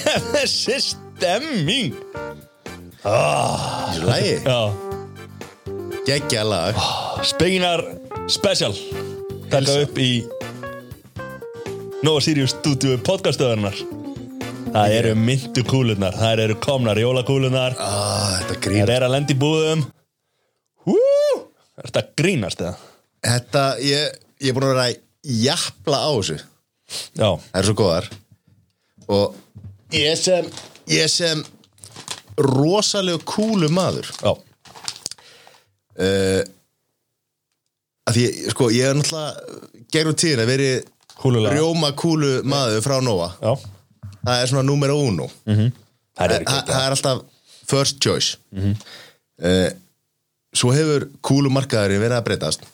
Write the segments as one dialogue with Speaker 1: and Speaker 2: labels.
Speaker 1: þessi stemming
Speaker 2: Í lagi,
Speaker 1: Já,
Speaker 2: geggja lag
Speaker 1: Spegnar Special Takka
Speaker 2: Heilsa.
Speaker 1: upp í Nova Sirius stúdíu podcastöðarnar Það eru myndu kúlunar Það eru komnar jólakúlunar
Speaker 2: ah, Þetta
Speaker 1: Það
Speaker 2: grín
Speaker 1: eru að lenda í búðum Hú Þetta grínast eða
Speaker 2: Þetta, ég, ég er búin að vera að jafla á þessu Það
Speaker 1: Já,
Speaker 2: er svo góðar Og ég sem Ég sem rosalegu kúlu maður
Speaker 1: já,
Speaker 2: að Því, ég- sko, ég er náttúrulega Gerum tíðin að veri
Speaker 1: Kúlulaga.
Speaker 2: Rjóma kúlu maður frá Nóa
Speaker 1: já
Speaker 2: Það er svona numero uno
Speaker 1: Það
Speaker 2: Þa-
Speaker 1: eru
Speaker 2: það það er alltaf first choice mm svo hefur kúlumarkaðurinn verið að breytast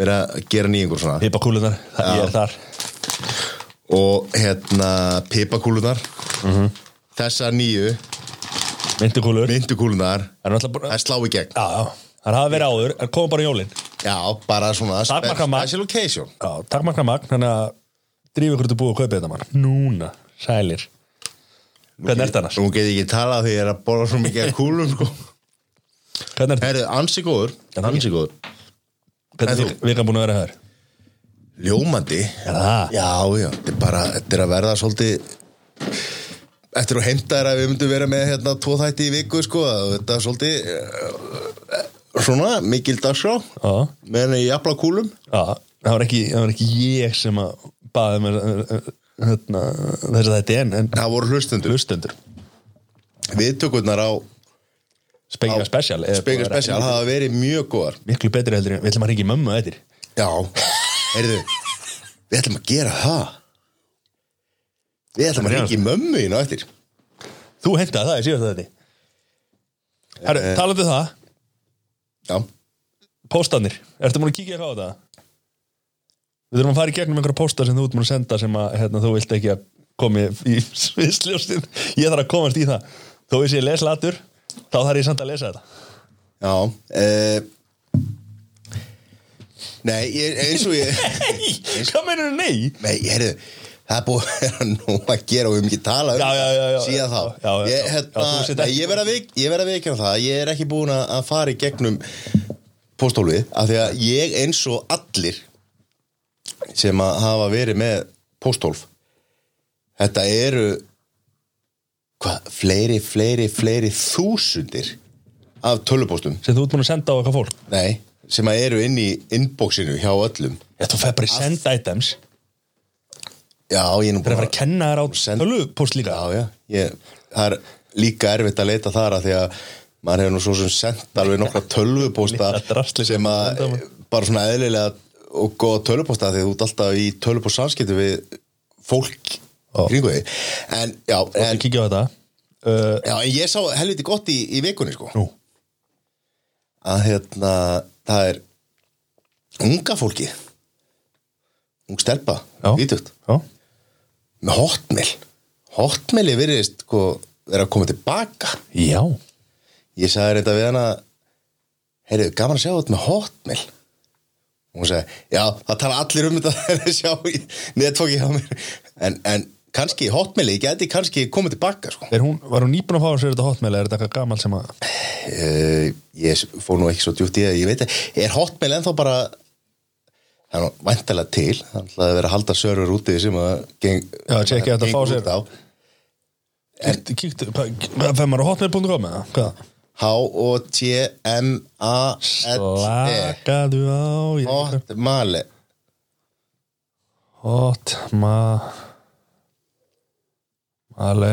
Speaker 2: verið að gera nýjingur svona
Speaker 1: Hippa kúlunar, ég er þar
Speaker 2: og hérna pipakúlunar þessar nýju
Speaker 1: Myndu kúlur
Speaker 2: myndukúlunar
Speaker 1: Það er náttúrulega búin
Speaker 2: það
Speaker 1: Já,
Speaker 2: slá í gegn
Speaker 1: já Það hafa verið áður, en koma bara jólin
Speaker 2: já, bara svona
Speaker 1: Takmarkað magn.
Speaker 2: special occasion
Speaker 1: Já, takk makna magn, þannig að drífa ykkur til búið að kaupa þetta mann. Núna, sælir. Hvernig ert annars?
Speaker 2: nú get ég ekki talað því ég er að borða svo mikið af kúlum sko.
Speaker 1: Hvernig ert
Speaker 2: herðu, ansi góður
Speaker 1: Já, takk.
Speaker 2: ansi góður
Speaker 1: Hvernig
Speaker 2: En
Speaker 1: er vikan búin að vera hér?
Speaker 2: ljómandi
Speaker 1: Er það?
Speaker 2: Já, já, þetta er bara, þetta er að verða svolítið Eftir að heimta er að við myndum vera með hérna tvo þætti í viku sko að Þetta er svolítið eh, svona mikil dagskrá
Speaker 1: Já.
Speaker 2: Meðan í jafla kúlum
Speaker 1: Já, það var ekki, það var ekki ég sem að baði mér hérna, þess að þetta en, en
Speaker 2: Það voru hlustendur
Speaker 1: hlustendur.
Speaker 2: Viðtökurnar á
Speaker 1: Spengja special. er búið
Speaker 2: Spengja
Speaker 1: að vera
Speaker 2: Special hafa verið mjög góðar
Speaker 1: Miklu betri heldur en við ætlum að ringa í mömmu eftir.
Speaker 2: Já, heyrðu Við ætlum að gera það Við ætlum að ringa í mömmu í náttir
Speaker 1: Þú heimtaði það í síðast þetta. Herru, talaðu það,
Speaker 2: Já,
Speaker 1: póstanir. Ertu múin að kíkja eitthvað á það? Við þurfum að fara í gegnum einhverja pósta sem þú ert múin að senda sem að hérna, þú vilt ekki að komi í sviðsljóstin. Ég þarf að komast í það. Þó ég sé leslatur, þá þarf ég samt að lesa þetta.
Speaker 2: já eh, Nei, ég, eins og ég
Speaker 1: Nei, hvað mennur nei?
Speaker 2: Nei, heyrðu, það er búið að vera nú að gera og við höfum ekki tala um
Speaker 1: Já, já, já, já.
Speaker 2: síðan þá.
Speaker 1: Já, já,
Speaker 2: ég,
Speaker 1: já.
Speaker 2: hérna,
Speaker 1: Já, þú sért
Speaker 2: nei,
Speaker 1: ekki-
Speaker 2: ég verð að vik- ég verð að vikja það, ég er ekki búin að að fara í gegnum póstólfið, af því að ég eins og allir sem að hafa verið með póstólf, þetta eru hvað, fleiri, fleiri, fleiri þúsundir af tölupóstum,
Speaker 1: Sem þú ert múin að senda á eitthvað fólk.
Speaker 2: nei, sem að eru inn í inboxinu hjá öllum.
Speaker 1: Já, þú fer bara í send items.
Speaker 2: Já, ég er nú
Speaker 1: Það er
Speaker 2: búin
Speaker 1: að fara að kenna þér á
Speaker 2: Send-
Speaker 1: tölvupóst líka.
Speaker 2: Já, já, ég, það er líka erfitt að leita þar að því að maður hefur nú svo sem sendt alveg nokkra tölvupósta
Speaker 1: Litla drasli sem
Speaker 2: sem að
Speaker 1: senda mann.
Speaker 2: bara svona eðlilega og góða tölvupósta því að þú ert alltaf í tölvupóst samskipti við fólk
Speaker 1: Já.
Speaker 2: kringu því en já,
Speaker 1: Ég
Speaker 2: en,
Speaker 1: kíkja á þetta. Uh,
Speaker 2: já, en ég sá helviti gott í, í vikunni sko
Speaker 1: nú,
Speaker 2: að hérna, það er unga fólki ung stelpa,
Speaker 1: Já.
Speaker 2: vítugt
Speaker 1: já.
Speaker 2: með hotmail hotmaili virðist sko, er að koma tilbaka
Speaker 1: Já.
Speaker 2: ég sagði þetta við hana heyrðu, gaman að sjá þetta með hotmail og hún sagði, já, það tala allir um þetta þegar þeir sjá í netfóki hjá mér en, en kannski hotmaili, ég geti kannski komið tilbaka sko.
Speaker 1: Er hún, var hún nýbúin að fá sér þetta hotmail eða er þetta eitthvað gamalt sem að...
Speaker 2: uh, ég fór nú ekki svo djúpt í það ég veit að, er hotmail ennþá bara það er nú væntalega til það ætlaði að vera að halda server úti sem að geng,
Speaker 1: Já, tjekkið þetta að fá
Speaker 2: gengur
Speaker 1: sér.
Speaker 2: út á.
Speaker 1: Kíktu- Kíktu, hvað fær maður á hotmail.com eða? Hvað?
Speaker 2: H-O-T-M-A-L-E
Speaker 1: Lakaðu á ég-
Speaker 2: E. Hotmail
Speaker 1: Hotma Ale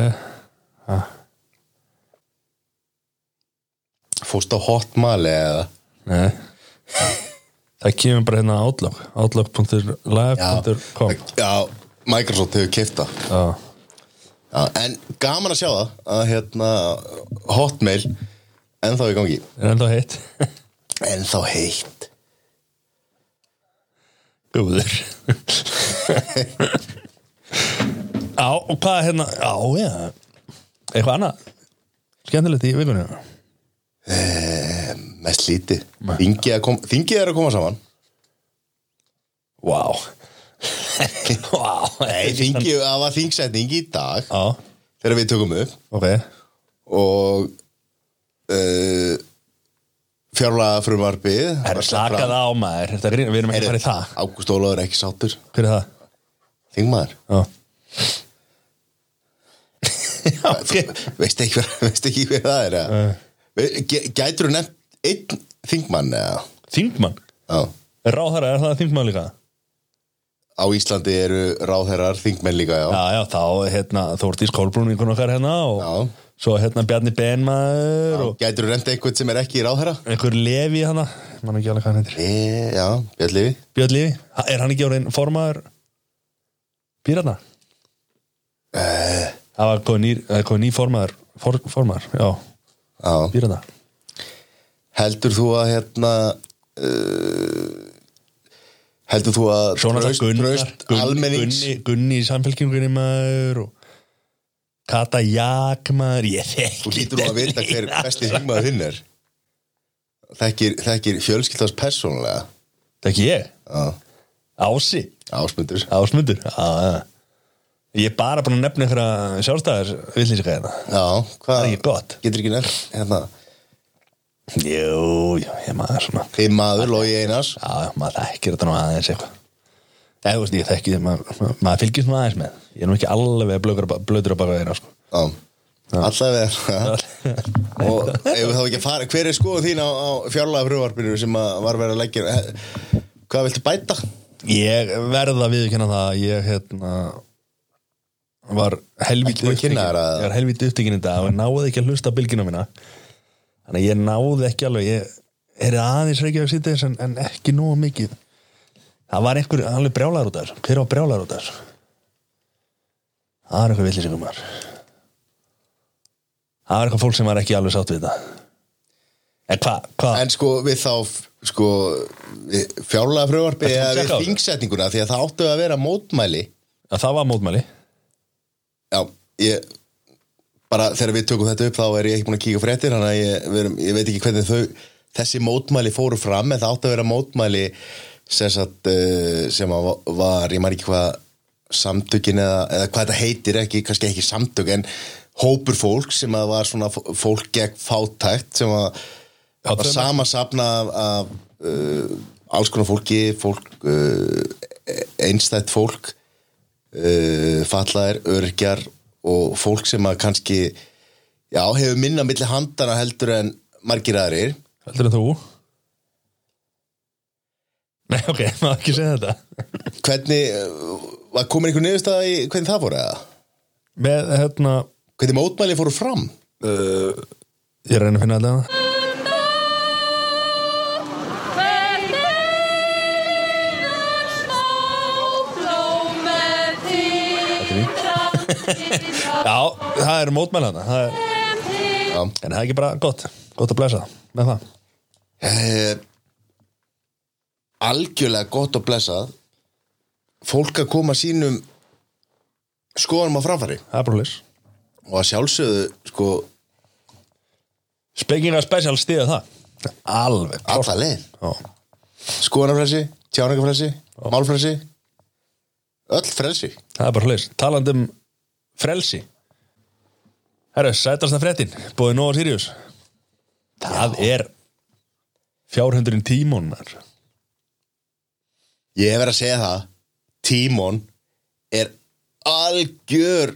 Speaker 2: fórst á hotmail eða
Speaker 1: Nei Það kemur bara hérna Outlook
Speaker 2: Já,
Speaker 1: Outlook.live.com
Speaker 2: já Microsoft hefur keifta
Speaker 1: Já,
Speaker 2: já, En gaman að sjá það að hérna, Hotmail ennþá í gangi
Speaker 1: er enda heitt
Speaker 2: Ennþá heitt
Speaker 1: Guður Já, og hvað er hérna Já, já Eitthvað annað Skemmtilegt í vikunni
Speaker 2: Mest lítið Þingið er að kom- þingið er að koma saman
Speaker 1: Vá Vá
Speaker 2: Nei, þingið, það var þingsetning í dag
Speaker 1: Já,
Speaker 2: þegar við tökum upp
Speaker 1: Ok
Speaker 2: og uh, fjárlega frumvarpið
Speaker 1: Herra, slakað á maður, þetta grínur, við erum ekki að fara í það
Speaker 2: Ágúst Ólafur er ekki sáttur
Speaker 1: Hver er það?
Speaker 2: Þingmaður
Speaker 1: Já Já, ok Eh.
Speaker 2: Veist ekki, hver- veist ekki hver það er eða? Ve- gæ- Gætirðu nefnt einn þingmann eða?
Speaker 1: Þingmann
Speaker 2: Já.
Speaker 1: Er ráðherra, er það þingmann líka?
Speaker 2: Á Íslandi eru ráðherrar þingmenn líka já.
Speaker 1: Já, já, þá, hérna, Þórdís Kolbrún einhvern okkar hérna og
Speaker 2: Já.
Speaker 1: svo, hérna, Bjarni Benmaður og
Speaker 2: Gætirðu nefnt einhvern sem er ekki ráðherra?
Speaker 1: einhver Levi hana Man ekki alveg hvað hann heitir
Speaker 2: E, já, Björn Lífi
Speaker 1: Björn Levi, Ha- er hann ekki orðin formaður Pírata? Það var komið nýr, það er komið ný formaður for, Formaður, já,
Speaker 2: Já
Speaker 1: Pírata
Speaker 2: Heldur þú að hérna uh, Heldur þú að
Speaker 1: Sjónata Gunnar, Gunni,
Speaker 2: almennings
Speaker 1: Gunni, Gunni í samfélkingunni maður og Kata Jak maður, ég
Speaker 2: Þú
Speaker 1: þekki
Speaker 2: lítur nú að vita hver
Speaker 1: þetta
Speaker 2: besti hringmaður hinn er Þekkir, þekkir fjölskyldans persónulega
Speaker 1: Það er ekki ég,
Speaker 2: Já,
Speaker 1: Ási,
Speaker 2: ásmundur
Speaker 1: Ásmundur já, já. Ég er bara búin að nefna einhverja sjálfstæðar villíska hérna
Speaker 2: Já,
Speaker 1: Það
Speaker 2: hvað
Speaker 1: er ekki gott
Speaker 2: Getur ekki nefnt hérna
Speaker 1: Jú, jú, ég maður svona
Speaker 2: Þið maður, Lógi Einars
Speaker 1: Já, já, maður þekkir þetta nú aðeins eitthvað Eða, þú veist, ég þekki þetta, maður, maður- maður fylgist nú aðeins með Ég er nú ekki alveg blöður að blöður að baka þeirna, sko
Speaker 2: Já, allavega Og ef þá ekki að fara Hver er skoðu þín á, á fjárlega frumvarpinu sem að var verið að leggja Hvað viltu bæta?
Speaker 1: Ég verð að viðkynna það að ég hérna var
Speaker 2: Ertu
Speaker 1: helvítið
Speaker 2: búin að kynna þér að-
Speaker 1: ég var helvítið upptekinn í dag og ég náði ekki að hlusta á bylgina mína þannig að ég náði ekki alveg ég er aðeins reykjaðu sýttis en, en ekki nóg mikið það var einhver alveg brjálar út af þessu hver var brjálar út af þessu það var einhver villisingum var það var eitthvað fólk sem var ekki alveg sátt við þetta en hvað, hvað,
Speaker 2: En sko við þá f- sko, fjárlega
Speaker 1: Ertu
Speaker 2: frumvarpi
Speaker 1: búin að
Speaker 2: eða við
Speaker 1: checka á það?
Speaker 2: þingsetninguna því að það áttu að vera mótmæli
Speaker 1: að það var mótmæli
Speaker 2: Já, ég bara þegar við tökum þetta upp þá er ég ekki búin að kíka á fréttir þannig að ég, við erum, ég veit ekki hvernig þau þessi mótmæli fóru fram en það áttu að vera mótmæli sem, sagt, eh, sem að va- var, ég maður ekki hvað samtökin eða, eða hvað þetta heitir ekki, kannski ekki samtök en hópur fólk sem að var svona fó- fólk gegn fátækt sem að
Speaker 1: Já,
Speaker 2: var
Speaker 1: þau-
Speaker 2: sama safna af, af uh, alls konar fólki fólk uh, einstætt fólk uh, fallaðir, örgjar og fólk sem að kannski já, hefur minna milli handana heldur en margir aðrir
Speaker 1: Heldur en þú? Nei, ok, maður ekki segja þetta
Speaker 2: hvernig, uh, var komin einhver niðurstaða í hvernig það fór eða?
Speaker 1: Með, hérna
Speaker 2: Hvernig mótmæli fóru fram? Eh,
Speaker 1: Ég reyna að finna þetta hérna. Já, það eru mótmælana það er,
Speaker 2: Já.
Speaker 1: En það er ekki bara gott, gott að blæsa Með það
Speaker 2: Eh, algjörlega gott og blessað fólk að koma sínum skoðanum á framfæri
Speaker 1: Það er brúlis
Speaker 2: og að sjálfsögðu sko
Speaker 1: Spekinga special stiða það Alveg klárt.
Speaker 2: alla leið
Speaker 1: Já.
Speaker 2: skoðanafrelsi, tjáningafrelsi, málfrelsi öll frelsi
Speaker 1: Það er bara hlust Talandi um frelsi Herra, sætasta fréttin Bóði Nóa Sirius Það er Fjárhundurinn tímónar
Speaker 2: ég hef verið að segja það Tímon er algjör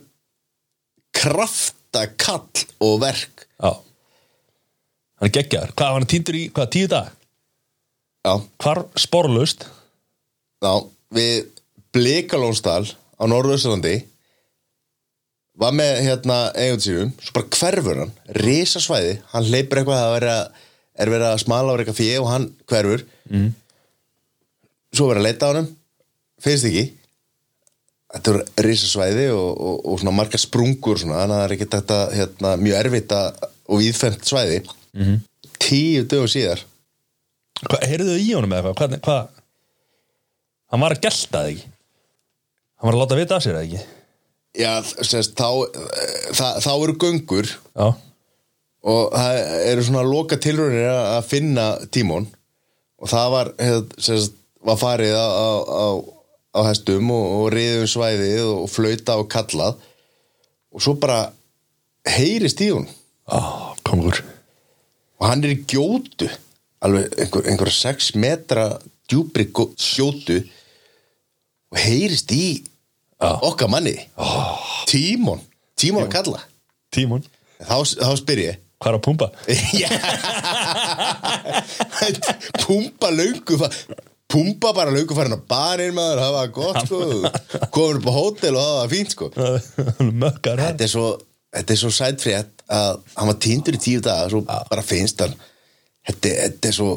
Speaker 2: kraftakall og verk
Speaker 1: Já Hann er geggjaður Hvað var hann týndur í, hvað, tíu dag?
Speaker 2: já,
Speaker 1: Hvar sporlust
Speaker 2: já, við Blikalónsdal á Norðurslandi var með hérna eigum sínum, svo bara hverfur hann risa svæði, hann hleypur eitthvað að vera, er verið að smala á eitthvað fjö og hann hverfur mm. svo verið að leita á hann finnst ekki þetta er risa svæði og, og, og svona margar sprungur svona, þannig að það er ekki þetta hérna, mjög erfitt að, og viðfemt svæði tíu dögum síðar
Speaker 1: Hvað, heyrðu í honum eða eitthvað? Hvað, hvað? Hann var að gelta það ekki Hann var að láta vita af sér eða ekki
Speaker 2: Já, sérst, þá, það, þá eru göngur
Speaker 1: Já,
Speaker 2: og það eru svona loka tilraunir að að finna tímon og það var, hef- sérst, var farið á, á, um á, á hestum og, og riðum svæðið og flauta og kallað og svo bara heyrist í hún
Speaker 1: Á, kongur
Speaker 2: og hann er í gjótu alveg einhver, einhver 6 metra djúpri gó- gjótu og heyrist í okkar manni Tímon, Tímon að kalla
Speaker 1: Tímon,
Speaker 2: þá, þá spyr ég
Speaker 1: hvað er að pumpa?
Speaker 2: Pumpa löngu fa- Pumpa bara löngu farin á barinn maður það var gott sko komin upp á hótel og það var fínt sko
Speaker 1: Mökkar hann
Speaker 2: þetta er svo, þetta er svo sætfrétt að hann var týndur í tíu dag svo bara finnst hann þetta, þetta er svo,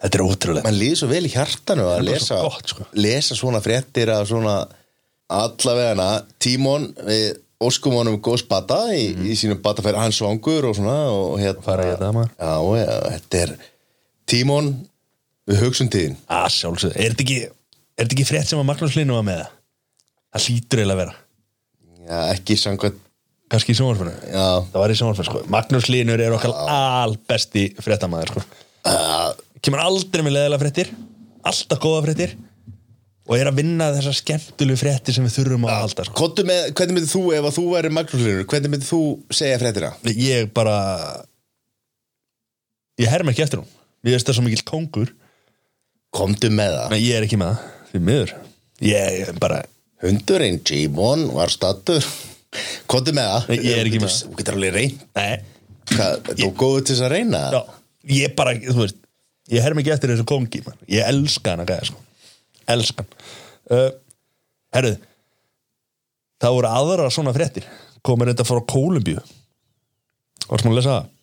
Speaker 1: Þetta er ótrúlega
Speaker 2: mann líður svo vel í hjartanu að
Speaker 1: Þetta er
Speaker 2: lesa,
Speaker 1: svo gott, sko.
Speaker 2: lesa svona fréttir að svona allavegana Tímon við óskum honum góð spata í, í sínum batafæri, hann svangur og svona og hérna
Speaker 1: Mhm. Fara í þetta, maður.
Speaker 2: Já, já, þetta er Tímon við hugsun tíðin
Speaker 1: Að sjálfsög, er þetta ekki Er þetta ekki frétt sem að Magnús Hlynur var með það? Það hlýtur eiginlega að vera
Speaker 2: Já, ekki samkvæmt
Speaker 1: Kanski í sjónvarpinu
Speaker 2: Já.
Speaker 1: Það var í sjónvarpinu, sko Magnús Hlynur er okkar albesti fréttamaður, sko
Speaker 2: að
Speaker 1: Kemur aldrei með leðilega fréttir Alltaf góða fréttir Og er að vinna þessar skemmtulegu fréttir sem við þurfum á að halda, sko
Speaker 2: Kottu með, hvernig myndir þú, ef að þú væri Magnús Hlynur, hvernig myndir þú segja fréttina?
Speaker 1: Ég bara Ég herma ekki eftir hún Ég veist það svo mikill kongur
Speaker 2: Komdu með það
Speaker 1: Nei, ég er ekki með það, því miður Ég er bara,
Speaker 2: Hundurinn Jimon var stattur Kottu með það
Speaker 1: Nei, ég er ekki með
Speaker 2: Þú- Þú getur alveg reynd
Speaker 1: nei
Speaker 2: Hvað, Þú góður til þess að reyna
Speaker 1: Já, ég bara, þú veist Ég herm ekki eftir þessu kongi, man Ég elska hann að gæða, sko Elska hann uh, Herruð Það voru aðra svona fréttir Komur þetta frá Kólumbíu Var smá að lesa það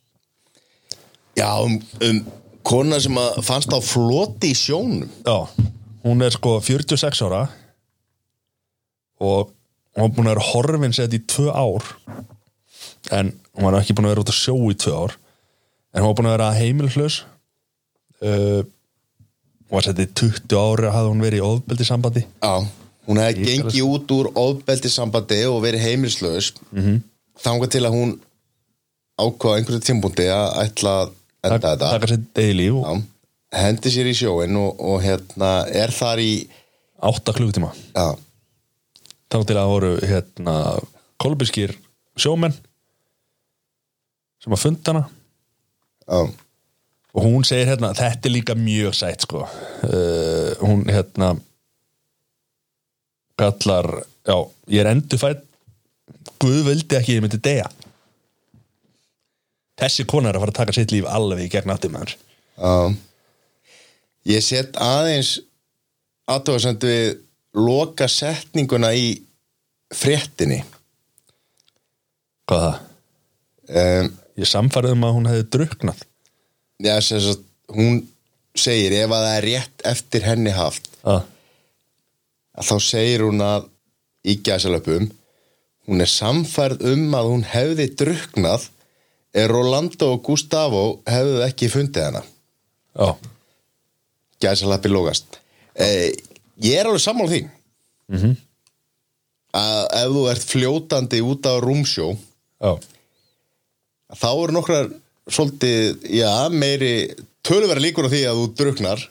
Speaker 2: Já, um, um kona sem að fannst á floti í sjónum
Speaker 1: Já, hún er sko 46 ára og hún er búin að vera horfin sett í tvö ár en hún var ekki búin að vera út að sjó í tvö ár en hún var búin að vera heimilhlaus uh, hún var sett í 20 ári hafði hún verið í ofbeldi sambandi
Speaker 2: Já Hún hefði
Speaker 1: Ég-
Speaker 2: gengið út úr ofbeldi sambandi og verið heimilslaus mm -hmm. Þangað til að hún ákvaða einhverju tímbúndi að ætla að enda þetta
Speaker 1: taka sér deili og
Speaker 2: Já, hendi sér í sjóin og, og hérna er þar í
Speaker 1: átta klukkutíma
Speaker 2: já,
Speaker 1: þá til að voru hérna kolbiskir sjómenn sem að funda hana
Speaker 2: já,
Speaker 1: og hún segir hérna, þetta er líka mjög sætt sko uh, hún hérna kallar já, ég er endurfætt Guð vildi ekki að ég myndi deyja þessi kona er að fara að taka sitt líf alveg í gegn aftur maður
Speaker 2: já. ég set aðeins aðtóðsendu við loka setninguna í fréttinni
Speaker 1: hvað það?
Speaker 2: um,
Speaker 1: ég samfærið um að hún hefði druknað
Speaker 2: já, sem sagt, hún segir ef að það er rétt eftir henni haft
Speaker 1: ah.
Speaker 2: að þá segir hún að í gæsalöpum hún er samfærð um að hún hefði druknað er Rolando og Gustavo hefðu ekki fundið hana
Speaker 1: já,
Speaker 2: gæsalappi lókast eh, ég er alveg sammála því að ef þú ert fljótandi út á rúmsjó
Speaker 1: já,
Speaker 2: þá eru nokkrar svolítið, já, meiri töluvera líkur á því að þú druknar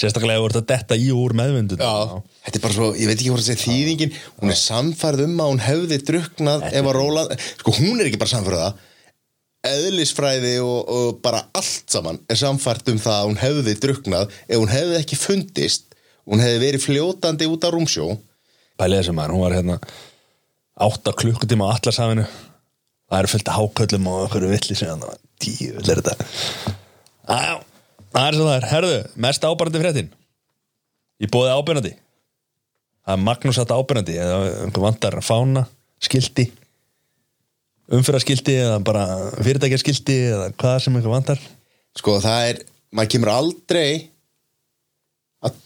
Speaker 1: sérstaklega ef þú ert að detta í og úr meðvindun
Speaker 2: þetta er bara svo, ég veit ekki hvort að segja þýðingin hún er samfærð um að hún hefði druknað ef að róla, sko hún er ekki bara samfærð það eðlisfræði og, og bara allt saman er samfært um það að hún hefði druknað ef hún hefði ekki fundist hún hefði verið fljótandi út á rúmsjó
Speaker 1: pælið þessu maður, hún var hérna átta klukkutíma á allarsafinu það eru fullt af háköllum og okkur villi sem það var dývill er þetta Æjá, það er svo það er herðu, mest ábærandi fréttin ég bóði ábyrnandi það er Magnús að ábyrnandi eða einhver vantar fána, skildi umfyrarskildi eða bara fyrirtækjarskildi eða hvað sem einhver vantar
Speaker 2: sko það er, maður kemur aldrei að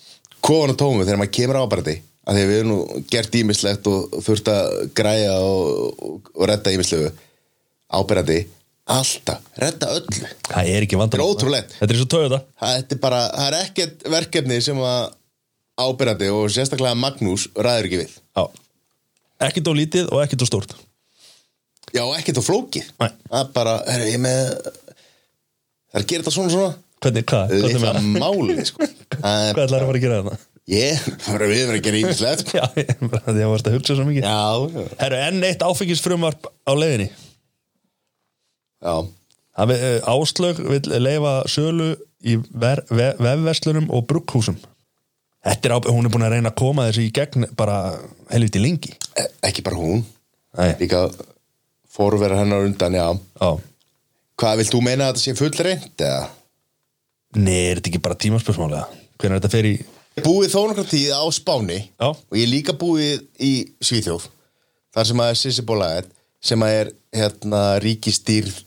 Speaker 2: kofan og tómu þegar maður kemur ábærandi að því að við erum nú gert ímislegt og þurft að græja og, og, og redda ímislegu ábærandi alltaf, redda öllu
Speaker 1: það er ekki vantar
Speaker 2: Þetta er ótrúlegt.
Speaker 1: þetta er svo Toyota
Speaker 2: það þetta er bara, það er ekkert verkefni sem að ábærandi og sérstaklega Magnús ræður ekki við
Speaker 1: Já. ekkert á lítið og ekkert á stórt
Speaker 2: já, ekkert á flókið
Speaker 1: Nei.
Speaker 2: það er bara, er ég með það er að gera þetta svona svona
Speaker 1: hvernig, hvað, hvað er
Speaker 2: litla
Speaker 1: með það?
Speaker 2: málið sko. Það er
Speaker 1: Hvað ætlar að fara að gera þarna?
Speaker 2: Ég, bara við erum að gera ímislegt
Speaker 1: Já, ég- bara því að ég varst að hugsa svo mikið
Speaker 2: Já, já,
Speaker 1: Herru, enn eitt áfengisfrumvarp á leiðinni
Speaker 2: já
Speaker 1: Það við, eh, Áslaug vil leifa sölu í ver, ve, vefverslunum og brugghúsum Þetta er á, hún er búin að reyna að koma þessu í gegn bara helviti lengi
Speaker 2: E- Ekki bara hún
Speaker 1: Nei,
Speaker 2: Líka fórvera hennar undan, já
Speaker 1: á
Speaker 2: Hvað vilt þú meina að þetta sé fullreint? eða?
Speaker 1: Nei, er þetta ekki bara tímaspörsmálega? Hvernig þetta fer í
Speaker 2: Ég hef Búið þó nokkra tíð á Spáni
Speaker 1: Já.
Speaker 2: Og ég hef líka búið í Svíþjóð Þar sem að er Sissi Bólaðið Sem að er hérna ríkistýrð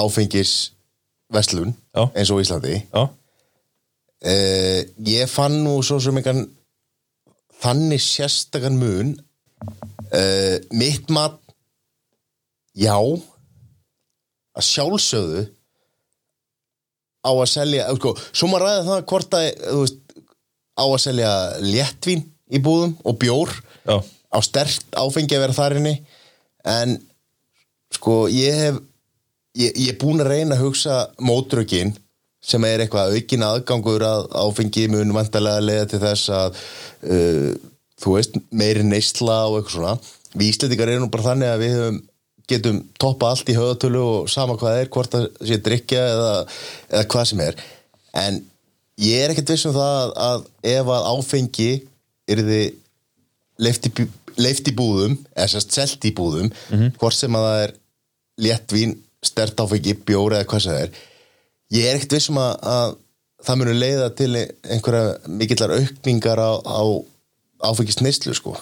Speaker 2: áfengis verslun
Speaker 1: Já.
Speaker 2: Eins og á Íslandi
Speaker 1: Já,
Speaker 2: Eh, ég fann nú svo sem einhvern þannig sérstakann mun uh, mitt mat já að sjálfsögðu á að selja eh, sko, svo maður ræði það hvort að eh, þú veist, á að selja léttvín í búðum og bjór
Speaker 1: já,
Speaker 2: á stert áfengi að vera þar inni en sko ég hef ég, ég er búin að reyna að hugsa mótrökin sem er eitthvað aukin aðgangur að áfengi mun vantarlega leiða til þess að uh, þú veist meiri neysla og eitthvað svona við Íslandingar erum nú bara þannig að við höfum getum toppa allt í höðatölu og sama hvað það er, hvort það sé drikja eða, eða hvað sem er en ég er ekkert viss um það að ef að áfengi yrði leift í, bú- leift í búðum eða sérst selt í búðum
Speaker 1: Mhm.
Speaker 2: hvort sem að það er léttvín, stert áfengi, bjóra eða hvað sem það er ég er ekkert vissum að, að það munu leiða til einhverja mikillar aukningar á, á áfengisneislu sko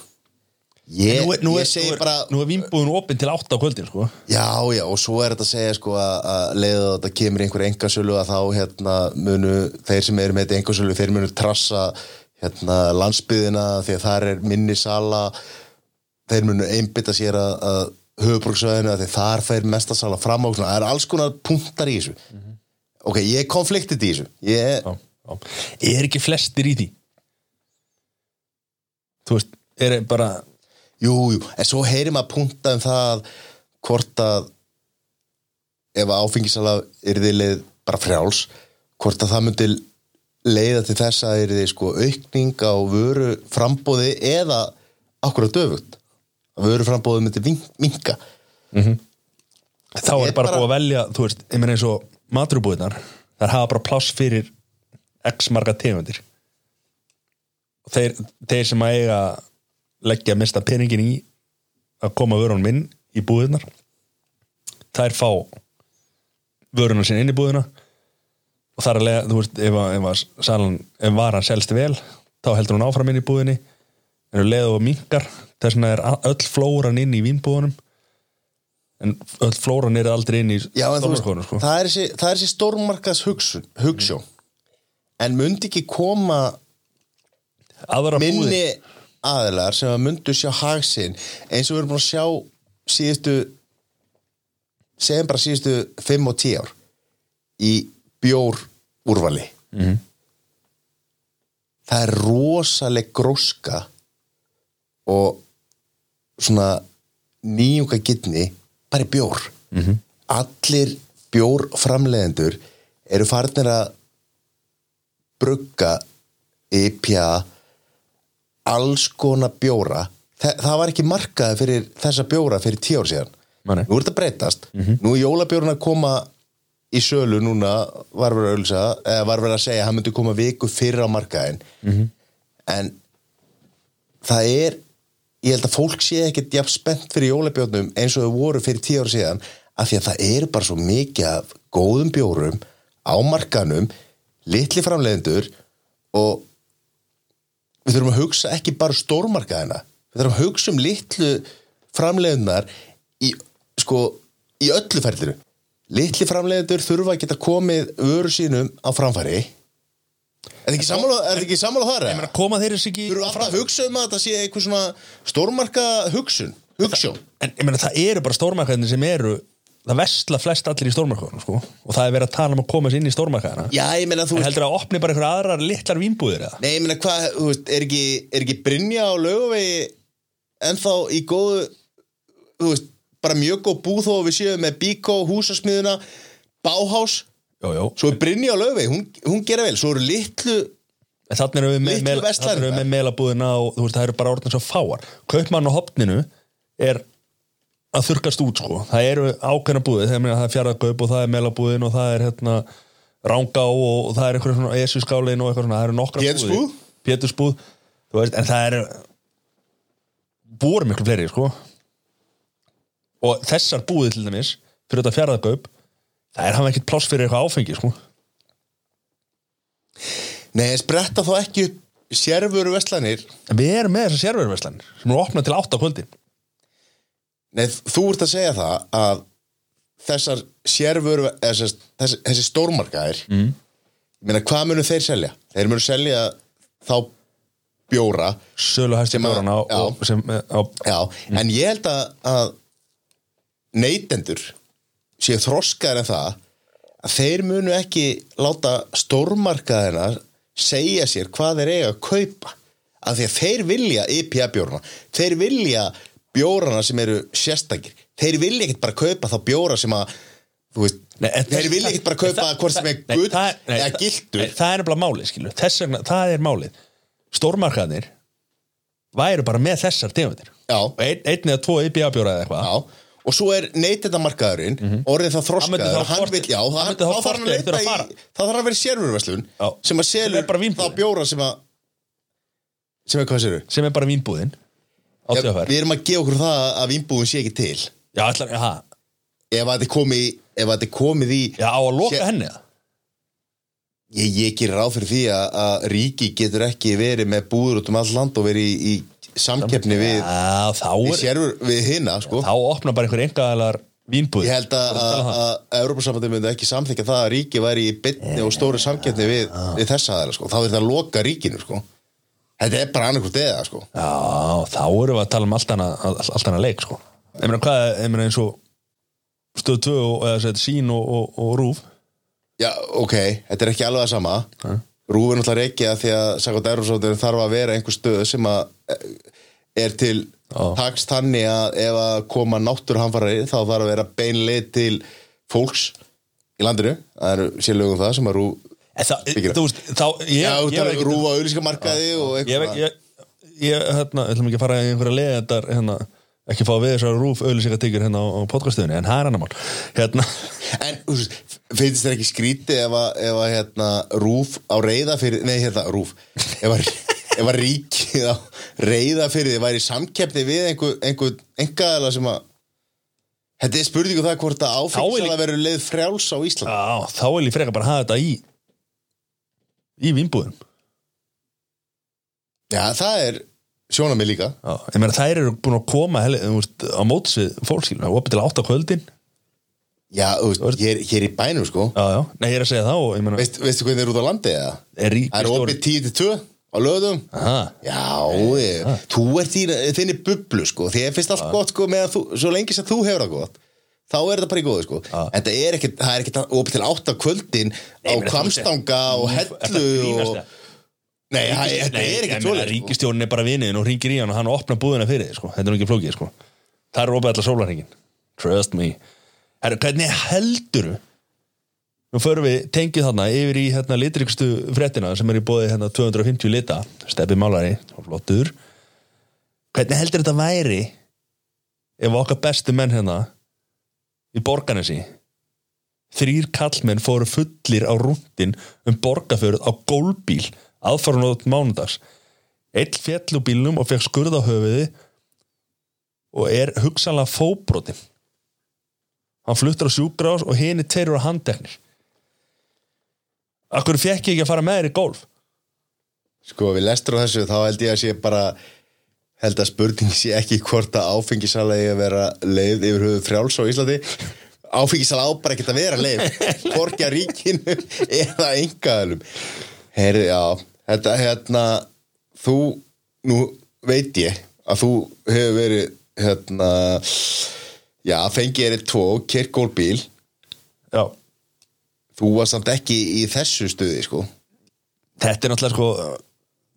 Speaker 2: ég,
Speaker 1: Nú er, nú er,
Speaker 2: ég segi
Speaker 1: nú er,
Speaker 2: bara
Speaker 1: nú er vínbúðin opinn til átta á kvöldin sko.
Speaker 2: já já og svo er þetta að segja sko að, að leiða að þetta kemur einhver engasölu að þá hérna munu þeir sem eru með þetta engasölu þeir munu trassa hérna landsbyðina því að þar er minni sala þeir munu einbytta sér að, að höfubruksvæðinu að þeir þar fær mesta sala fram á svona. það er alls konar punktar í þessu ok, ég er konfliktið í þessu ég,
Speaker 1: já, já. Er ekki flestir í því? Þú veist, er bara
Speaker 2: jú, jú, en svo heyrir maður punkta um það hvort að ef áfengisala yrði leið bara frjáls hvort að það myndi leiða til þess að yrði sko aukning á vöru frambóði eða akkur að döfut að vöru frambóði myndi vinka
Speaker 1: þá er
Speaker 2: Ég
Speaker 1: bara
Speaker 2: bara-
Speaker 1: búið að velja þú veist, ég meina eins og maturubúðnar þær hafa bara pláss fyrir x marga tegundir Og þeir, þeir sem að eiga leggja mesta peningin í að koma vörunum inn í búðnar þær fá vöruna sinni inn í búðina og þar að lega, þú veist, ef, að- ef, að salan, ef varan selst vel þá heldur hún áfram inn í búðinni en leða og minkar þess vegna er a- öll flóran inn í vínbúðunum en öll flóran er aldrei inn í
Speaker 2: Já, en þú veist,
Speaker 1: stofnarkonur, sko.
Speaker 2: það er þessi, það er þessi stórmarkaðs hugsun, hugsun. Mm. En myndi ekki koma
Speaker 1: aðra
Speaker 2: minni
Speaker 1: búðir
Speaker 2: aðilar sem að myndu sjá hagsinn eins og við erum búin að sjá síðustu segjum bara síðustu 5 og 10 ár í bjór úrvali mm -hmm. það er rosaleg gróska og svona nýjunga gittni bara í bjór -hmm. allir bjórframlegendur eru farnir að brugga IPA alls konar bjóra Þa, það var ekki markaði fyrir þessa bjóra fyrir tíu ár síðan
Speaker 1: Nei.
Speaker 2: nú er þetta að breytast nú er jólabjórun að koma í sölu núna var verið að, ölsa, eða var verið að segja að hann myndi koma viku fyrir á markaðin -hmm. en það er ég held að fólk sé ekkert jafn spennt fyrir jólabjórnum eins og þau voru fyrir tíu ár síðan af því að það eru bara svo mikið af góðum bjórum á markanum litli framleiðendur og við þurfum að hugsa ekki bara um stórmarkaðina við þurfum að hugsa um litlu framleiðunar í, sko, í öllu ferðinu litli framleiðendur þurfa að geta komið vöru sínum á framfæri er það ekki sammála, er það ekki sammála þar? eða?
Speaker 1: koma þeir þessi ekki
Speaker 2: Þurfum alltaf að hugsa um að þetta sé eitthvað svona stórmarka hugsun, hugsun
Speaker 1: en ég meina það eru bara stórmarkaðinni sem eru það vestla flest allir í stórmarkaðunum sko. og það er verið að tala um að koma sér inn í stórmarkaðina
Speaker 2: Já, ég meina þú
Speaker 1: en
Speaker 2: veist
Speaker 1: heldur að opni bara einhverja aðrar litlar vínbúðir eða?
Speaker 2: Nei, ég meina hvað, þú veist, er ekki, er ekki Brynja á laugavegi ennþá í góðu þú veist, bara mjög góð búð þó að við séum með Bíkó, Húsasmiðuna Báhás,
Speaker 1: Jó, jó.
Speaker 2: svo er Brynja á laugavegi hún, hún gera vel, svo eru litlu
Speaker 1: En þannig erum við með,
Speaker 2: Litlu
Speaker 1: með,
Speaker 2: verslanirnar.
Speaker 1: þarna erum við með meilabúðina og þú veist, það eru bara orðin svo fáar. Kaupmann á hopninu er að þurkast út, sko. Það eru ákveðna búðið, þegar meina það er fjarragaup og það er meilabúðin og það er hérna rángá og, og það er einhverjum svona esuskálin og eitthvað svona, það eru nokkra
Speaker 2: Pétursbúð?
Speaker 1: Pétursbúð, þú veist, en það eru voru miklu fleiri, sko. Og þessar búðið til dæmis, fyrir þetta fjarragaup, það er hann ekkert pláss fyrir eitthvað áfengi, sko.
Speaker 2: Nei, en spretta þá ekki upp sérvöru veslanir
Speaker 1: En við erum með þessar sérverðverslanir sem eru opnað til 8 á kvöldin.
Speaker 2: Nei, þú ert að segja það að þessar sérvöru eða þess, þess, þessi stórmarkaðir mm. meina, hvað munu þeir selja? Þeir munu selja þá bjóra
Speaker 1: sölu hæstu
Speaker 2: Sem að-
Speaker 1: bjórana
Speaker 2: já.
Speaker 1: og sem eh, á,
Speaker 2: Já, en ég held að, að neytendur séu þroskaðar en það að þeir munu ekki láta stórmarkaðina segja sér hvað þeir eiga að kaupa af því að þeir vilja IPA bjórna þeir vilja bjórana sem eru sérstakir, þeir vilja ekkert bara kaupa þá bjóra sem að þú veist,
Speaker 1: Nei, en
Speaker 2: þeir
Speaker 1: þess-
Speaker 2: vilja ekkert bara
Speaker 1: nei,
Speaker 2: kaupa
Speaker 1: það-
Speaker 2: hvort sem er
Speaker 1: það- nei,
Speaker 2: gull
Speaker 1: það- nei,
Speaker 2: eða
Speaker 1: það-
Speaker 2: gildur
Speaker 1: nei, það er nefnilega málið skilur þess vegna, það er málið stórmarkaðnir væru bara með þessar tegundir
Speaker 2: Já.
Speaker 1: og ein, einn eða tvo IPA bjóra eða eitthvað
Speaker 2: Já, og svo er neytendamarkaðurinn orðið það
Speaker 1: Hann myndi
Speaker 2: þroskaður
Speaker 1: þá
Speaker 2: hann
Speaker 1: hvort-
Speaker 2: vil, já,
Speaker 1: hann
Speaker 2: hann,
Speaker 1: myndi þá
Speaker 2: þá þarf
Speaker 1: hvort
Speaker 2: hann að
Speaker 1: eftir
Speaker 2: leita
Speaker 1: að
Speaker 2: í
Speaker 1: fara.
Speaker 2: þá þarf hann að vera sérvöruverslun
Speaker 1: Já.
Speaker 2: sem að
Speaker 1: Sem er
Speaker 2: selur
Speaker 1: bara
Speaker 2: þá
Speaker 1: vínbúðin.
Speaker 2: bjóra sem að sem er hvað séru
Speaker 1: sem er bara vínbúðin á
Speaker 2: Já,
Speaker 1: tjóðfær
Speaker 2: við erum að gefa okkur það að vínbúðun sé ekki til
Speaker 1: já, ætlar, já, ha.
Speaker 2: ef að þið komið ef að þið komið í
Speaker 1: já, á að loka
Speaker 2: Sér-
Speaker 1: henni það
Speaker 2: ég, ég gerir ráð fyrir því að, að ríki getur ekki verið með búður út um all land og verið í, í samkeppni við,
Speaker 1: já, þá
Speaker 2: við,
Speaker 1: er
Speaker 2: sérvör, við hina sko.
Speaker 1: þá opna bara einhver engaðalar vínbúð
Speaker 2: Ég held að,
Speaker 1: um
Speaker 2: að, að Európa-sambandi myndi ekki samþykja það að ríki væri í bytni og stóri samkeppni við, við þessa aðeins, sko. Þá er þetta að loka ríkinu, sko. Þetta er bara annarkvort eða, sko.
Speaker 1: Já, þá erum við að tala um allt annað, allt annað leik sko. Ég meina hvað, ég meina eins og stöð 2 og eða sett sín og, og, og rúf
Speaker 2: Já, ok, þetta er ekki alveg að sama. Rúfin alltaf reiki að því að sagði Európa-sambandi þarf að vera einhver stöð sem að eh, er til
Speaker 1: Já.
Speaker 2: taks þannig að ef að koma náttúruhamfarari þá þarf að vera beinleið til fólks í landinu. Það eru sérlögum það sem að rúf...
Speaker 1: En það,
Speaker 2: Byggjum.
Speaker 1: þú um veist, þá ég,
Speaker 2: Já,
Speaker 1: ég,
Speaker 2: um
Speaker 1: var
Speaker 2: þetta er
Speaker 1: ekkert-
Speaker 2: rúfa auðlýskamarkaði og
Speaker 1: ég,
Speaker 2: eitthvað.
Speaker 1: ég, ég, ég hérna, ætlum ekki að fara í einhverja leiðendar hérna, ekki fá við þessar rúf auðlýsingatíkur hérna á, á podcastöðunni, en það er annar mál hérna,
Speaker 2: En þú veist, finnst þér ekki skrítið ef að, ef að hérna, rúf á reyða fyrir, nei hérna, rúf, ef að, ef að ríkið á reyða fyrir þið væri í samkeppni við einhver, einhver, einhverjala sem að, þetta er spurningu það hvort að áfengsala
Speaker 1: líka-
Speaker 2: verður leið frjáls á Ísland.
Speaker 1: á, þá vil ég freka bara hafa þetta í í vinnbúðum
Speaker 2: Já, það er sjónamið líka.
Speaker 1: Já, ég meina þær eru búin að koma heli, þú veist, á mótis við fólkskilna opið til átt á kvöldin
Speaker 2: Já, þú veist, hér, hér í bænum sko,
Speaker 1: já, já. Nei, ég er að segja það og ég meina
Speaker 2: Veist, veistu hvernig þeir eru út á landið eða?
Speaker 1: er
Speaker 2: Það er opið
Speaker 1: ríkistjóri
Speaker 2: 10-2 á löðum.
Speaker 1: Aha.
Speaker 2: Já, ég,
Speaker 1: Ah.
Speaker 2: þú ert í þinni bublu sko, því ég finnst allt gott sko með að þú, svo lengi sem þú hefur það gott þá er það bara í góðu sko en það er ekkert, það er ekkert opið til átt á kvöldin á
Speaker 1: Ah. meina, þú
Speaker 2: kvamstanga og
Speaker 1: Ertu að
Speaker 2: hellu
Speaker 1: grínast,
Speaker 2: og...
Speaker 1: eða?
Speaker 2: Nei, það
Speaker 1: Ríkis-
Speaker 2: þetta
Speaker 1: Nei,
Speaker 2: er
Speaker 1: ég
Speaker 2: ekkert
Speaker 1: meina,
Speaker 2: svoleið sko.
Speaker 1: Ríkisstjórinn er bara vinniðin og ringir í hann og hann opnar búðina fyrir þið sko. Þetta er nú ekki flókið sko. Það er opið allar sólarhingin Trust me Herru, hvernig heldur Nú förum við tengið þarna yfir í hérna litrikstu fréttina sem er í bóði hérna 250 lita Steppi Málari og flottur Hvernig heldur þetta væri ef okkar bestu menn hérna í borganesi þrýr kallmenn fóru fullir á rúndin um borgarfjörð á gólbíl aðfarunótt mánudags eitt fjall úr bílnum og fekk skurð á höfuði og er hugsanlega fóbrotin hann fluttur á sjúkrás og hini teirur á handteknir Akkur fekk ég ekki að fara með þér í golf
Speaker 2: sko, við lestur á þessu, þá held ég að sé bara held að spurning sé ekki hvort að áfengisala eigi að vera leið yfir höfuð frjáls á Íslandi áfengisala á bara ekkert að vera leið hvorki að ríkinu eða engaðalum heyrðu, já, þetta hérna þú, nú veit ég að þú hefur verið hérna já, fengið er eitt tvo, kirkólbíl
Speaker 1: Já,
Speaker 2: þú var samt ekki í þessu stuði sko,
Speaker 1: þetta er náttúrulega sko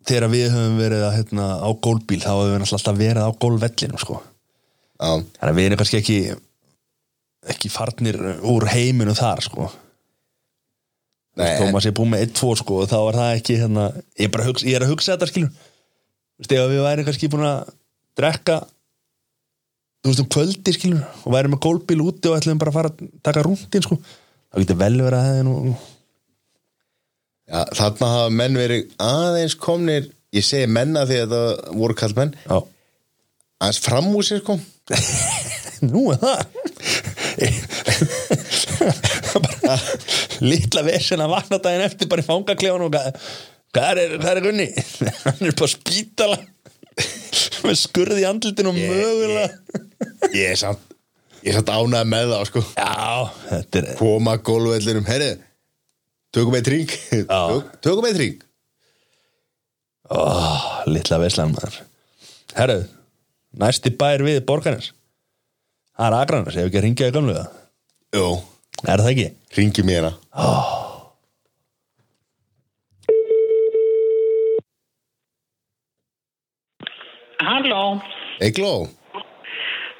Speaker 1: þegar við höfum verið að, hérna, á gólbíl þá höfum við náttúrulega alltaf verið á gólvellinu sko.
Speaker 2: já
Speaker 1: þannig að við erum kannski ekki ekki farnir úr heiminu þar sko Nei,
Speaker 2: Nei,
Speaker 1: Thomas er búin með 1-2 sko og þá er það ekki hérna, ég, er bara að hugsa, ég er að hugsa þetta skilur Vist, ef við væri kannski búin að drekka þú veist um kvöldi skilur og væri með gólbíl úti og ætlum bara að fara að taka rúndin sko þá getur vel verið að það er nú
Speaker 2: Já, þarna hafa menn verið aðeins komnir ég segi menna því að það voru kallt menn
Speaker 1: Já.
Speaker 2: aðeins fram úr sér sko
Speaker 1: nú er það bara litla vesen að vakna daginn eftir bara í fangaklefann og hvað hvað er, hvað er Gunni? hann er bara spítala með skurði í andlutinu og
Speaker 2: Ég-
Speaker 1: mögulega
Speaker 2: ég er samt, ég er samt ánað með það sko
Speaker 1: Já, þetta er
Speaker 2: koma gólvellinum, herri tökum eitt ring Tök, tökum eitt ring
Speaker 1: ó, litla veislan maður Herru, næsti bær við borganes Það er Akranes, ef ekki að ringja í gamlu það
Speaker 2: Jó,
Speaker 1: Er það ekki?
Speaker 2: ringi mér hana
Speaker 3: Halló,
Speaker 2: Egló,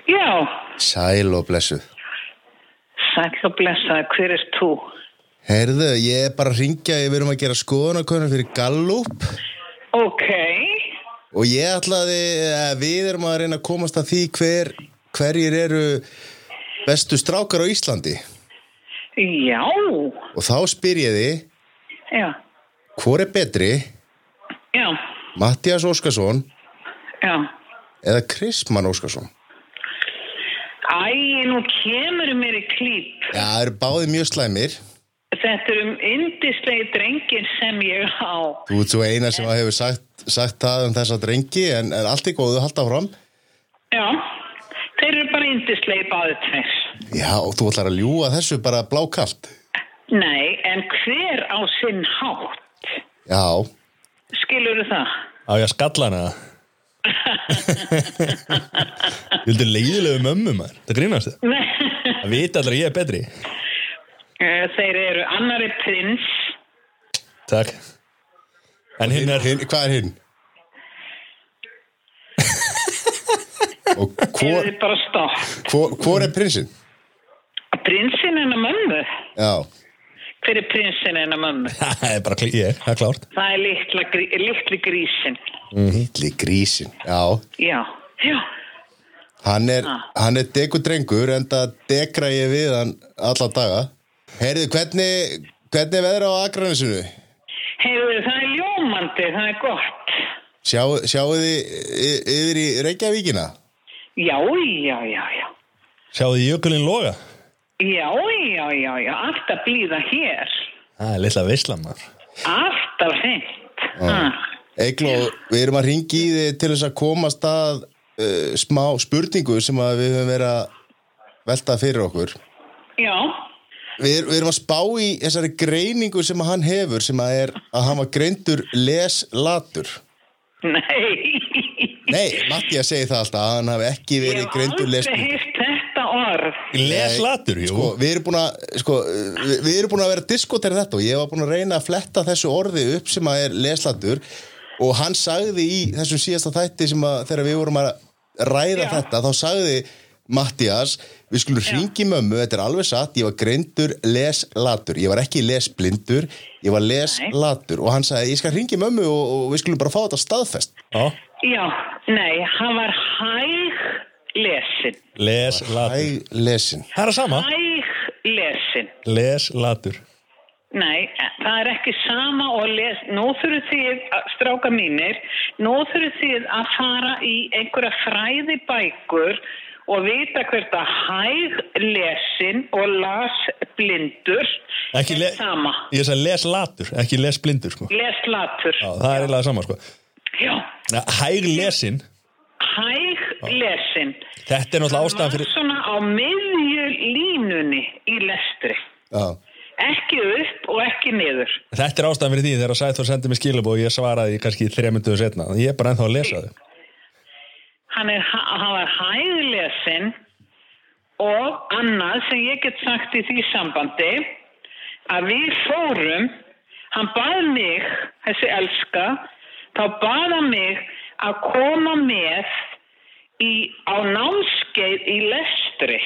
Speaker 3: já,
Speaker 2: sæl og blessu
Speaker 3: sæll og blessaði, hver er þú?
Speaker 2: Herðu, ég er bara að ringja, ég verðum að gera skoðanakönnum fyrir Gallup
Speaker 3: Ok,
Speaker 2: og ég ætlaði að við erum að reyna að komast að því hver, hverjir eru bestu strákar á Íslandi
Speaker 3: já,
Speaker 2: og þá spyr ég því,
Speaker 3: já,
Speaker 2: hvor er betri,
Speaker 3: já,
Speaker 2: Mattias Óskarsson
Speaker 3: já.
Speaker 2: eða Krisman Óskarsson?
Speaker 3: Æ, nú kemur mér í klíp.
Speaker 2: Já, það eru báðið mjög slæmir
Speaker 3: Þetta er um indislegi drengir sem ég á.
Speaker 2: Þú ert svo eina sem hefur sagt, sagt það um þessa drengi en, en allt í góðu halda fram.
Speaker 3: Já, þeir eru bara indislegi báðu tveir.
Speaker 2: Já, og þú ætlar að ljúga þessu bara blákalt.
Speaker 3: Nei, en hver á sinn hátt?
Speaker 2: Já,
Speaker 3: Skilurðu það?
Speaker 1: Á ég að skalla hana Þú heldur leiðilegu mömmu maður Það grínast þið
Speaker 3: Nei,
Speaker 1: Það vita allir að ég er betri
Speaker 3: þeir eru annari prins,
Speaker 1: Takk En hinn er
Speaker 2: hinn, hvað er hinn? og
Speaker 3: þeir
Speaker 2: hvor,
Speaker 3: eru bara stopp.
Speaker 2: hvor, hvor er prinsinn?
Speaker 3: Prinsinn hennar mömmu?
Speaker 2: Já,
Speaker 3: Hver er prinsinn hennar mömmu?
Speaker 1: Það er bara klí- ég, það er klárt
Speaker 3: Það er litla, grí, litli grísin.
Speaker 2: hitli Mm. grísin. Já,
Speaker 3: Já, já,
Speaker 2: hann er, hann er dekudrengur en það dekra ég við hann alla daga. Heyrðu, hvernig, hvernig er veðra á Akranesinu?
Speaker 3: heyrðu það er ljómandi, það er gott.
Speaker 2: Sjá, sjáu þið y- yfir í Reykjavíkina?
Speaker 3: Já, já, já, já,
Speaker 1: Sjáðu jökulinn loga
Speaker 3: já, já, já, já, alltaf blíða hér,
Speaker 1: Það er litla veislan maður
Speaker 3: alltaf hreint. Ah.
Speaker 2: Egló, við erum að ringi í þig til þess að komast að uh, smá spurningu sem að við höfum verið að velta fyrir okkur.
Speaker 3: Já,
Speaker 2: Við, er, við erum að spá í þessari greiningu sem að hann hefur sem að er að hann var greindur leslatur.
Speaker 3: nei,
Speaker 2: Nei, Matti að segja það alltaf að hann hafi ekki
Speaker 3: ég
Speaker 2: verið
Speaker 3: hef
Speaker 2: greindur
Speaker 3: aldrei
Speaker 2: leslatur.
Speaker 3: hýrt þetta orð.
Speaker 1: Leslatur, jú
Speaker 2: Sko, við erum búin að, sko, við, við erum búin að vera diskotir þetta og ég var búin að reyna að fletta þessu orði upp sem að er leslatur og hann sagði í þessum síðasta þætti sem að þegar við vorum að ræða
Speaker 3: Já.
Speaker 2: þetta þá sagði Mattias við skulum hringi mömmu, þetta er alveg satt ég var greindur leslatur ég var ekki lesblindur, ég var leslatur og hann sagði ég skal hringi mömmu og, og við skulum bara fá þetta staðfest
Speaker 1: Já,
Speaker 3: Já, nei, hann var hæg lesin,
Speaker 1: Leslatur
Speaker 2: Æ, lesin
Speaker 1: Það er að sama
Speaker 3: hæg lesin.
Speaker 1: Leslatur
Speaker 3: Nei, það er ekki sama og les, nú þurfum þið, að- stráka mínir, nú þurfum þið að fara í einhverja fræðibækur og vita hvert að hæg lesin og las blindur
Speaker 1: Ekki le...
Speaker 3: er sama.
Speaker 1: Ég sagði leslatur, ekki lesblindur sko
Speaker 3: Leslatur.
Speaker 1: Já, það er eiginlega sama sko
Speaker 3: Já,
Speaker 1: Nei, Hæg lesin,
Speaker 3: hæg lesin.
Speaker 1: þetta er náttúrulega ástæðan
Speaker 3: Var
Speaker 1: fyrir
Speaker 3: Svona á miðju línunni í lestri.
Speaker 2: Já.
Speaker 3: Ekki upp og ekki niður.
Speaker 1: Þetta er ástæðan fyrir því þegar Sæþór sendi mér skilabóð og ég svaraði kannski þremunduðu setna Ég er bara ennþá að lesa þau
Speaker 3: hann, er, hann var hæðlesin og annað sem ég get sagt í því sambandi að við fórum hann bað mig þessi elska þá bað hann mig að koma með í, á námskeið í lestri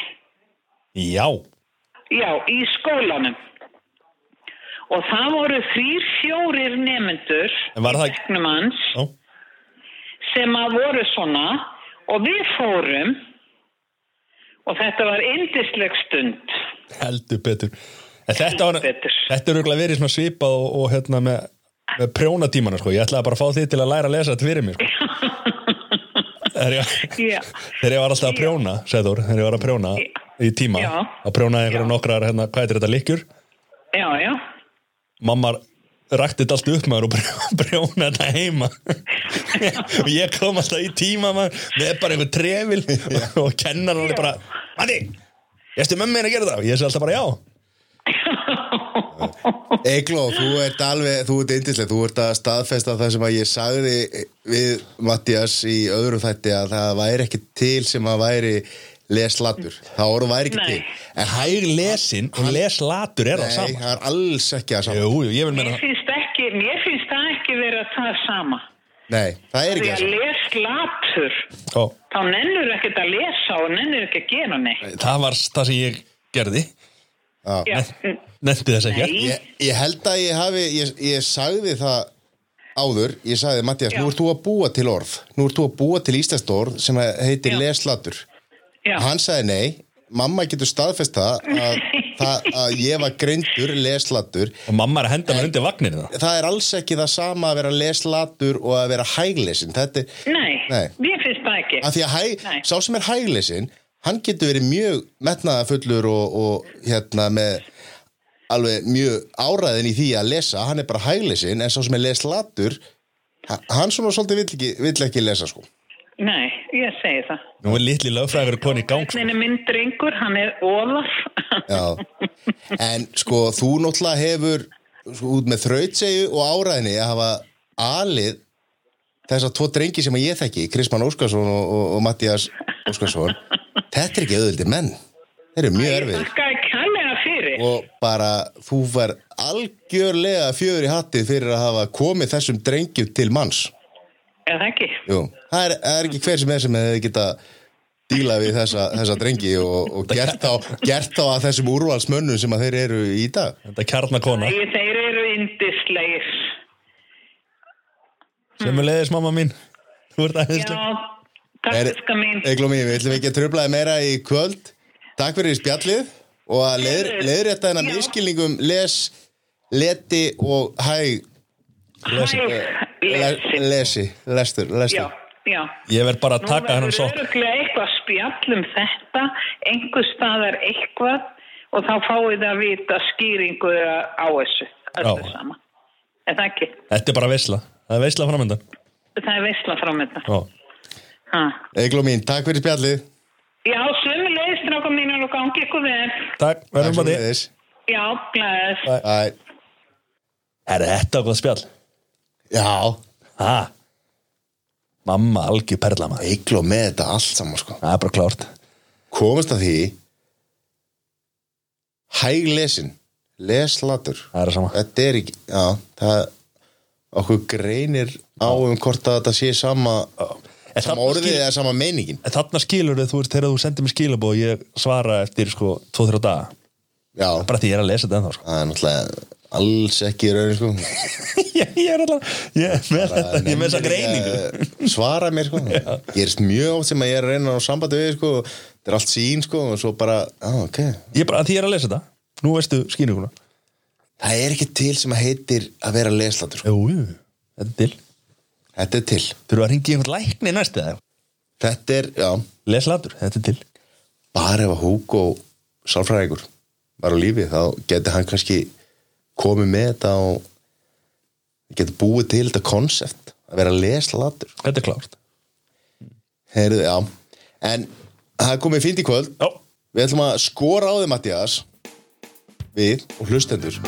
Speaker 1: Já,
Speaker 3: já, í skólanum og það voru þrýr fjórir nemyndur
Speaker 1: En var það-
Speaker 3: gegnum hans
Speaker 1: Já,
Speaker 3: sem að voru svona og við fórum og þetta var indisleg stund
Speaker 1: heldur betur En þetta var
Speaker 3: Betur.
Speaker 1: Þetta er auðvitað verið svona svipað og, og hérna með, með prjónatímana sko Ég ætlaði bara að fá þig til að læra að lesa þetta fyrir mig sko. Þegar ég,
Speaker 3: Já,
Speaker 1: þegar ég var alltaf að prjóna, segðu úr Þegar ég var að prjóna í tíma
Speaker 3: Já.
Speaker 1: Að prjóna einhverja
Speaker 3: Já.
Speaker 1: nokkrar, hérna, hvað er þetta, lykkjur?
Speaker 3: já, já
Speaker 1: mamma rakti þetta allt upp maður og brjó- brjóna þetta heima og ég kom alltaf í tíma maður með bara einhver trefil og kennar hann bara Matti, ég stu mömmu minn að gera það og ég segi alltaf bara já
Speaker 2: Egló, þú ert alveg, þú ert yndislega, þú ert að staðfesta það sem að ég sagði við Mattias í öðru þætti að það væri ekki til sem að væri leslatur. Það orð væri ekki
Speaker 3: Nei.
Speaker 2: til. En hægri
Speaker 1: lesin og leslatur er það
Speaker 2: Nei,
Speaker 1: saman
Speaker 2: það er alls ekki
Speaker 1: jú,
Speaker 2: að saman.
Speaker 1: jú, ég vil meina
Speaker 3: mér finnst, ekki, mér finnst það ekki vera það sama
Speaker 2: Nei, það er
Speaker 3: því
Speaker 2: ekki að
Speaker 3: að
Speaker 2: saman.
Speaker 3: les latur
Speaker 1: Ó,
Speaker 3: þá nennur ekkert að lesa og nennur ekki að gera neitt
Speaker 1: það var það sem ég gerði
Speaker 2: Já.
Speaker 3: Já,
Speaker 1: nefndi þess ekki
Speaker 3: Nei.
Speaker 2: Ég, ég held að ég hafi, ég, ég sagði það áður, ég sagði Mattias,
Speaker 3: Já.
Speaker 2: nú ert þú að búa til orð, nú ert þú að búa til íslenskt orð sem að heitir
Speaker 3: Já.
Speaker 2: leslatur.
Speaker 3: já,
Speaker 2: Hann sagði nei, mamma getur staðfest það að, það að ég var greindur leslatur.
Speaker 1: og mamma er að henda mér undir hérna. vagnir það
Speaker 2: Það er alls ekki það sama að vera leslatur og að vera hæglesin. Þetta er,
Speaker 3: nei,
Speaker 2: Nei.
Speaker 3: mér finnst það ekki
Speaker 2: að því að hæ,
Speaker 3: Nei.
Speaker 2: sá sem er hæglesin, hann getur verið mjög metnaðafullur og, og hérna með alveg mjög áræðin í því að lesa, hann er bara hæglesin, en sá sem er leslatur, h- hann svona svolítið vill ekki, vill ekki lesa sko.
Speaker 3: Nei, ég segi það
Speaker 1: nú er litli lögfræði verið koni í gang sko.
Speaker 3: Hvernig er minn drengur, hann er Ólaf
Speaker 2: Já, en sko þú náttúrulega hefur sko, út með þrautsegu og áræðinni að hafa alið þessar tvo drengi sem ég þekki, Kristmann Óskarsson og, og, og Mattias Óskarsson þetta er ekki auðvöldi menn þeir eru mjög erfið
Speaker 3: Þakka kærlega fyrir
Speaker 2: og bara þú var algjörlega fjöður í hattið fyrir að hafa komið þessum drengjum til manns
Speaker 3: Er það ekki?
Speaker 2: Jú, það er, það er ekki hver sem er sem hefði geta díla við þessa, þessa drengi og, og gert, á, gert á að þessum úrvalsmönnum sem að þeir eru í dag
Speaker 1: þetta kjarnakona
Speaker 3: Nei, þeir eru indislegir.
Speaker 1: sem er leiðis mamma mín þú ert
Speaker 3: Já,
Speaker 1: aðeinslega
Speaker 3: takk skal mín.
Speaker 2: Egló mín, við ætlum ekki að tröflaði meira í kvöld Takk fyrir spjallið og að leður, leður þetta hennar
Speaker 3: Já.
Speaker 2: miskilningum um les, leti og hæ,
Speaker 3: Hæ,
Speaker 2: le,
Speaker 3: lesin.
Speaker 2: lesi lestur,
Speaker 3: Já,
Speaker 2: lestur
Speaker 3: já.
Speaker 1: ég verð bara að
Speaker 3: Nú
Speaker 1: taka hennan
Speaker 3: verður
Speaker 1: sokk
Speaker 3: örugglega eitthvað spjall um þetta, einhver staðar eitthvað og þá fáið það að vita skýringu á þessu, öllu
Speaker 1: Já.
Speaker 3: sama. Er það ekki?
Speaker 1: Þetta er bara veisla. Það er veisla framöndan.
Speaker 3: Það er veistla frá með þetta.
Speaker 1: Já.
Speaker 2: Egló mín, takk fyrir spjallið
Speaker 3: Já, sömu leiðistráka mínar og gangi ykkur vel.
Speaker 1: Takk, verðum bara því.
Speaker 3: Já, glæðis.
Speaker 2: Æ,
Speaker 1: Er þetta okkur spjall?
Speaker 2: Já,
Speaker 1: Ha? Mamma, algjör perla maður.
Speaker 2: Egló með þetta allt saman sko
Speaker 1: Það er bara klárt.
Speaker 2: komast að því hæg lesin leslatur
Speaker 1: Það er það sama.
Speaker 2: þetta er ekki, já það, okkur greinir á um hvort að þetta sé sama
Speaker 1: En
Speaker 2: sama
Speaker 1: þarna
Speaker 2: orðið
Speaker 1: skil-
Speaker 2: eða sama meiningin
Speaker 1: En þarna skilur þau, þú veist, þegar þú sendir mér skilabóð og ég svara eftir, sko, 2-3 daga.
Speaker 2: já,
Speaker 1: Bara því ég er að lesa þetta ennþá,
Speaker 2: það er náttúrulega alls ekki í raun sko
Speaker 1: sko. ég, ég er alltaf, ég er með þetta, ég er með þessa greiningu.
Speaker 2: Eh, svara mér sko gerist mjög oft sem að ég er að reyna á sambandi við sko, þetta er allt sín sko og svo bara, já ok
Speaker 1: Ég er bara að því ég er að lesa þetta. Nú veistu skýringuna.
Speaker 2: það er ekki til sem að heitir að vera leslatur sko.
Speaker 1: Jú, jú, þetta er til.
Speaker 2: þetta er til,
Speaker 1: Þurfa að ringi einhvern lækni næst eða?
Speaker 2: þetta er, já
Speaker 1: Leslatur, þetta er til.
Speaker 2: bara ef að Hugo sálfræðingur var á lífi þá geti hann kannski komið með þetta og geti búið til þetta konsept að vera leslatur
Speaker 1: Þetta er klárt.
Speaker 2: heyrðu, já en það er komið fínt í kvöld
Speaker 1: Já.
Speaker 2: við ætlum að skora á þig Mattias við og hlustendur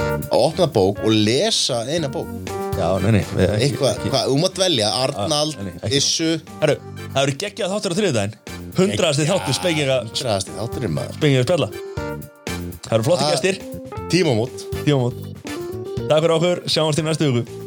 Speaker 2: að opna bók og lesa eina bók
Speaker 1: Já, nei, nei. við- ekki-
Speaker 2: eitthvað,
Speaker 1: ekki-
Speaker 2: hvað, þú mátt velja Arnald,
Speaker 1: Ah, nei, ekki.
Speaker 2: Issu
Speaker 1: Herru, það eru geggjað þáttur á þriðdæðin Hundraðasti þáttur spenginga
Speaker 2: Hundraðasti þátturinn maður
Speaker 1: Spenginga spjalla Það eru flotti
Speaker 2: Ah.
Speaker 1: gestir
Speaker 2: Tímamót
Speaker 1: Tímamót Takk fyrir okkur, sjáumst í næstu hugu